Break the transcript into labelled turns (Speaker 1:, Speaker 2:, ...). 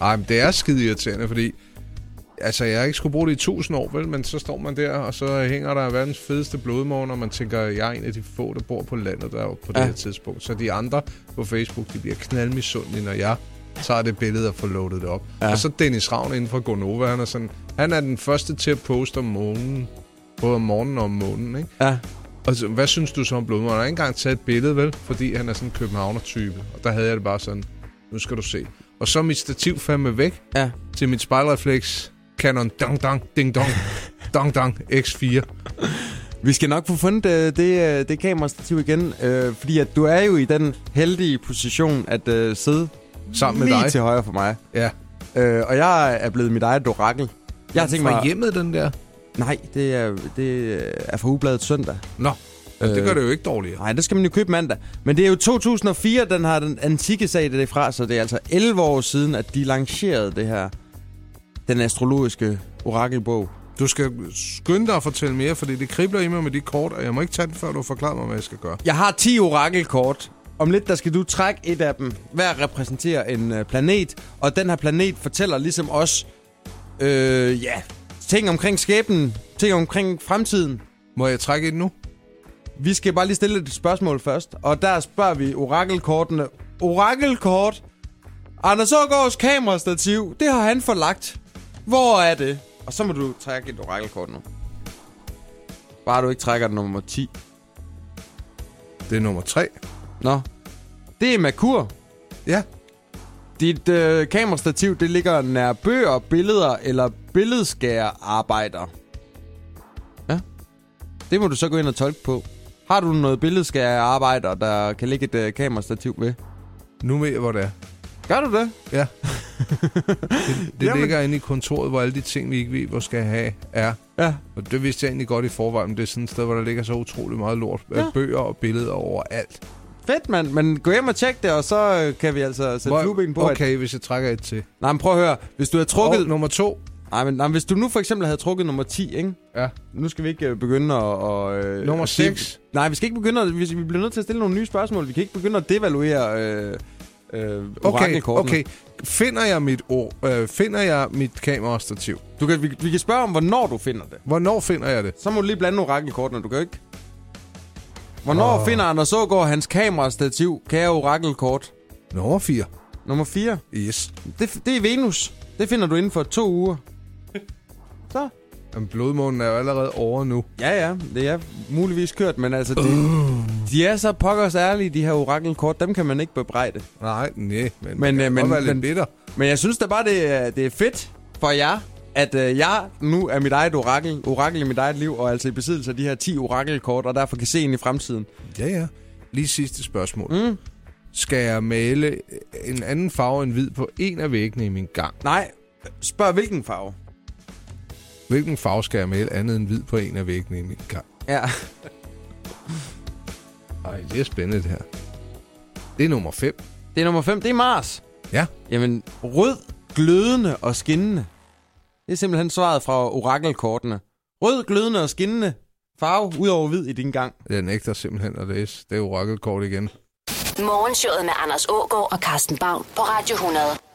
Speaker 1: Ej, men det er skide irriterende, fordi... Altså, jeg ikke skulle bruge det i tusind år, vel? Men så står man der, og så hænger der verdens fedeste blodmåne, og man tænker, jeg er en af de få, der bor på landet der på det
Speaker 2: Ja.
Speaker 1: her tidspunkt. Så de andre på Facebook, de bliver knaldmisundelige, når jeg tager det billede og får loadet det op.
Speaker 2: Ja.
Speaker 1: Ja. Og så Dennis Ravn inden for Gonova, han er sådan... Han er den første til at poste om månen. Både om morgenen og om månen, ikke?
Speaker 2: Ja.
Speaker 1: Altså, hvad synes du så om Blodmål? Han har ikke engang taget et billede, vel? Fordi han er sådan en københavner-type. Og der havde jeg det bare sådan, nu skal du se. Og så er mit stativ fandme væk
Speaker 2: Ja.
Speaker 1: til mit spejlrefleks. Canon dang dang ding dong. dang dang X4.
Speaker 2: Vi skal nok få fundet øh, det, øh, det kamerastativ igen, øh, fordi at du er jo i den heldige position at øh, sidde
Speaker 1: Sammen med
Speaker 2: lige
Speaker 1: dig.
Speaker 2: til højre for mig.
Speaker 1: Ja.
Speaker 2: Øh, og jeg er blevet mit eget orakel. Jeg har tænkt mig...
Speaker 1: Fra hjemmet, den der?
Speaker 2: Nej, det er, det er fra Ugebladet søndag.
Speaker 1: Nå, øh. det
Speaker 2: Øh.
Speaker 1: gør det jo ikke dårligere.
Speaker 2: Nej, det skal man jo købe mandag. Men det er jo 2004, den har den antikke sag det er fra, så det er altså 11 år siden, at de lancerede det her, den astrologiske orakelbog.
Speaker 1: Du skal skynde dig at fortælle mere, fordi det kribler i mig med de kort, og jeg må ikke tage den, før du har forklaret mig, hvad jeg skal gøre.
Speaker 2: Jeg har 10 orakelkort. Om lidt, der skal du trække et af dem. Hver repræsenterer en øh, planet, og den her planet fortæller ligesom os, øh, ja, ting omkring skæbnen, ting omkring fremtiden.
Speaker 1: Må jeg trække ind nu?
Speaker 2: Vi skal bare lige stille et spørgsmål først, og der spørger vi orakelkortene. Orakelkort? Anders Aargaards kamerastativ, det har han forlagt. Hvor er det? Og så må du trække et orakelkort nu. Bare du ikke trækker det nummer 10.
Speaker 1: Det er nummer 3.
Speaker 2: Nå. Det er Merkur.
Speaker 1: Ja,
Speaker 2: Dit øh, kamerastativ, det ligger nær bøger, billeder eller billedskærerarbejder. Ja. Det må du så gå ind og tolke på. Har du noget billedskærerarbejder, der kan ligge et øh, kamerastativ ved?
Speaker 1: nu ved jeg, hvor det er.
Speaker 2: Gør du det?
Speaker 1: Ja. det det
Speaker 2: Jamen.
Speaker 1: ligger inde i kontoret, hvor alle de ting, vi ikke ved, hvor skal have, er.
Speaker 2: Ja.
Speaker 1: Og det vidste jeg egentlig godt i forvejen, men det er sådan et sted, hvor der ligger så utrolig meget lort.
Speaker 2: Ja.
Speaker 1: Ja. Bøger og billeder overalt.
Speaker 2: Fedt, mand. Men gå hjem og tjek det, og så øh, kan vi altså sætte flueben på. At...
Speaker 1: okay, hvis jeg trækker et til.
Speaker 2: Nej, men prøv at høre. Hvis du havde trukket...
Speaker 1: Og nummer to.
Speaker 2: Nej, men, nej, men hvis du nu for eksempel havde trukket nummer 10, ikke?
Speaker 1: Ja.
Speaker 2: Nu skal vi ikke øh, begynde at... Og, øh,
Speaker 1: Nummer
Speaker 2: at sige-
Speaker 1: seks.
Speaker 2: Nej, vi skal ikke begynde at... Vi, vi bliver nødt til at stille nogle nye spørgsmål. Vi kan ikke begynde at devaluere øh, øh,
Speaker 1: Okay,
Speaker 2: orakelkortene.
Speaker 1: okay. Finder jeg mit, or, øh, finder jeg mit kamerastativ?
Speaker 2: Du kan, vi, vi kan spørge om, hvornår du finder det.
Speaker 1: Hvornår finder jeg det?
Speaker 2: Så må du lige blande orakelkortene. Du kan jo ikke... Hvornår oh. finder Anders Aagaard hans kamerastativ, kære orakelkort?
Speaker 1: Nummer 4.
Speaker 2: Nummer 4.
Speaker 1: Yes.
Speaker 2: Det, det er Venus. Det finder du inden for to uger. Så.
Speaker 1: Jamen, blodmånen er jo allerede over nu.
Speaker 2: Ja, ja. Det er muligvis kørt, men altså... De,
Speaker 1: Øh.
Speaker 2: de er så pokkers ærlige, de her orakelkort. Dem kan man ikke bebrejde.
Speaker 1: Nej, nej. Men,
Speaker 2: Men,
Speaker 1: men,
Speaker 2: øh,
Speaker 1: øh,
Speaker 2: men-
Speaker 1: men, være lidt
Speaker 2: men-
Speaker 1: bitter.
Speaker 2: Men jeg synes da bare, det er, det er fedt for jer, at øh, jeg nu er mit eget orakel, orakel i mit eget liv, og altså i besiddelse af de her 10 orakelkort, og derfor kan se ind i fremtiden.
Speaker 1: Ja, ja. Lige sidste spørgsmål. Mm. Skal jeg male øh, en anden farve end hvid på en af væggene i min gang?
Speaker 2: Nej, spørg hvilken farve?
Speaker 1: Hvilken farve skal jeg male andet end hvid på en af væggene i min gang?
Speaker 2: Ja.
Speaker 1: Ej, det er spændende det her. Det er nummer 5.
Speaker 2: Det er nummer 5, det er Mars.
Speaker 1: Ja.
Speaker 2: Jamen, rød, glødende og skinnende. Det er simpelthen svaret fra orakelkortene. Rød, glødende og skinnende farve ud over hvid i din gang.
Speaker 1: Jeg nægter simpelthen at læse. Det er jo rocket kort igen.
Speaker 3: Morgenshowet med Anders Ågaard og Carsten Baum på Radio 100.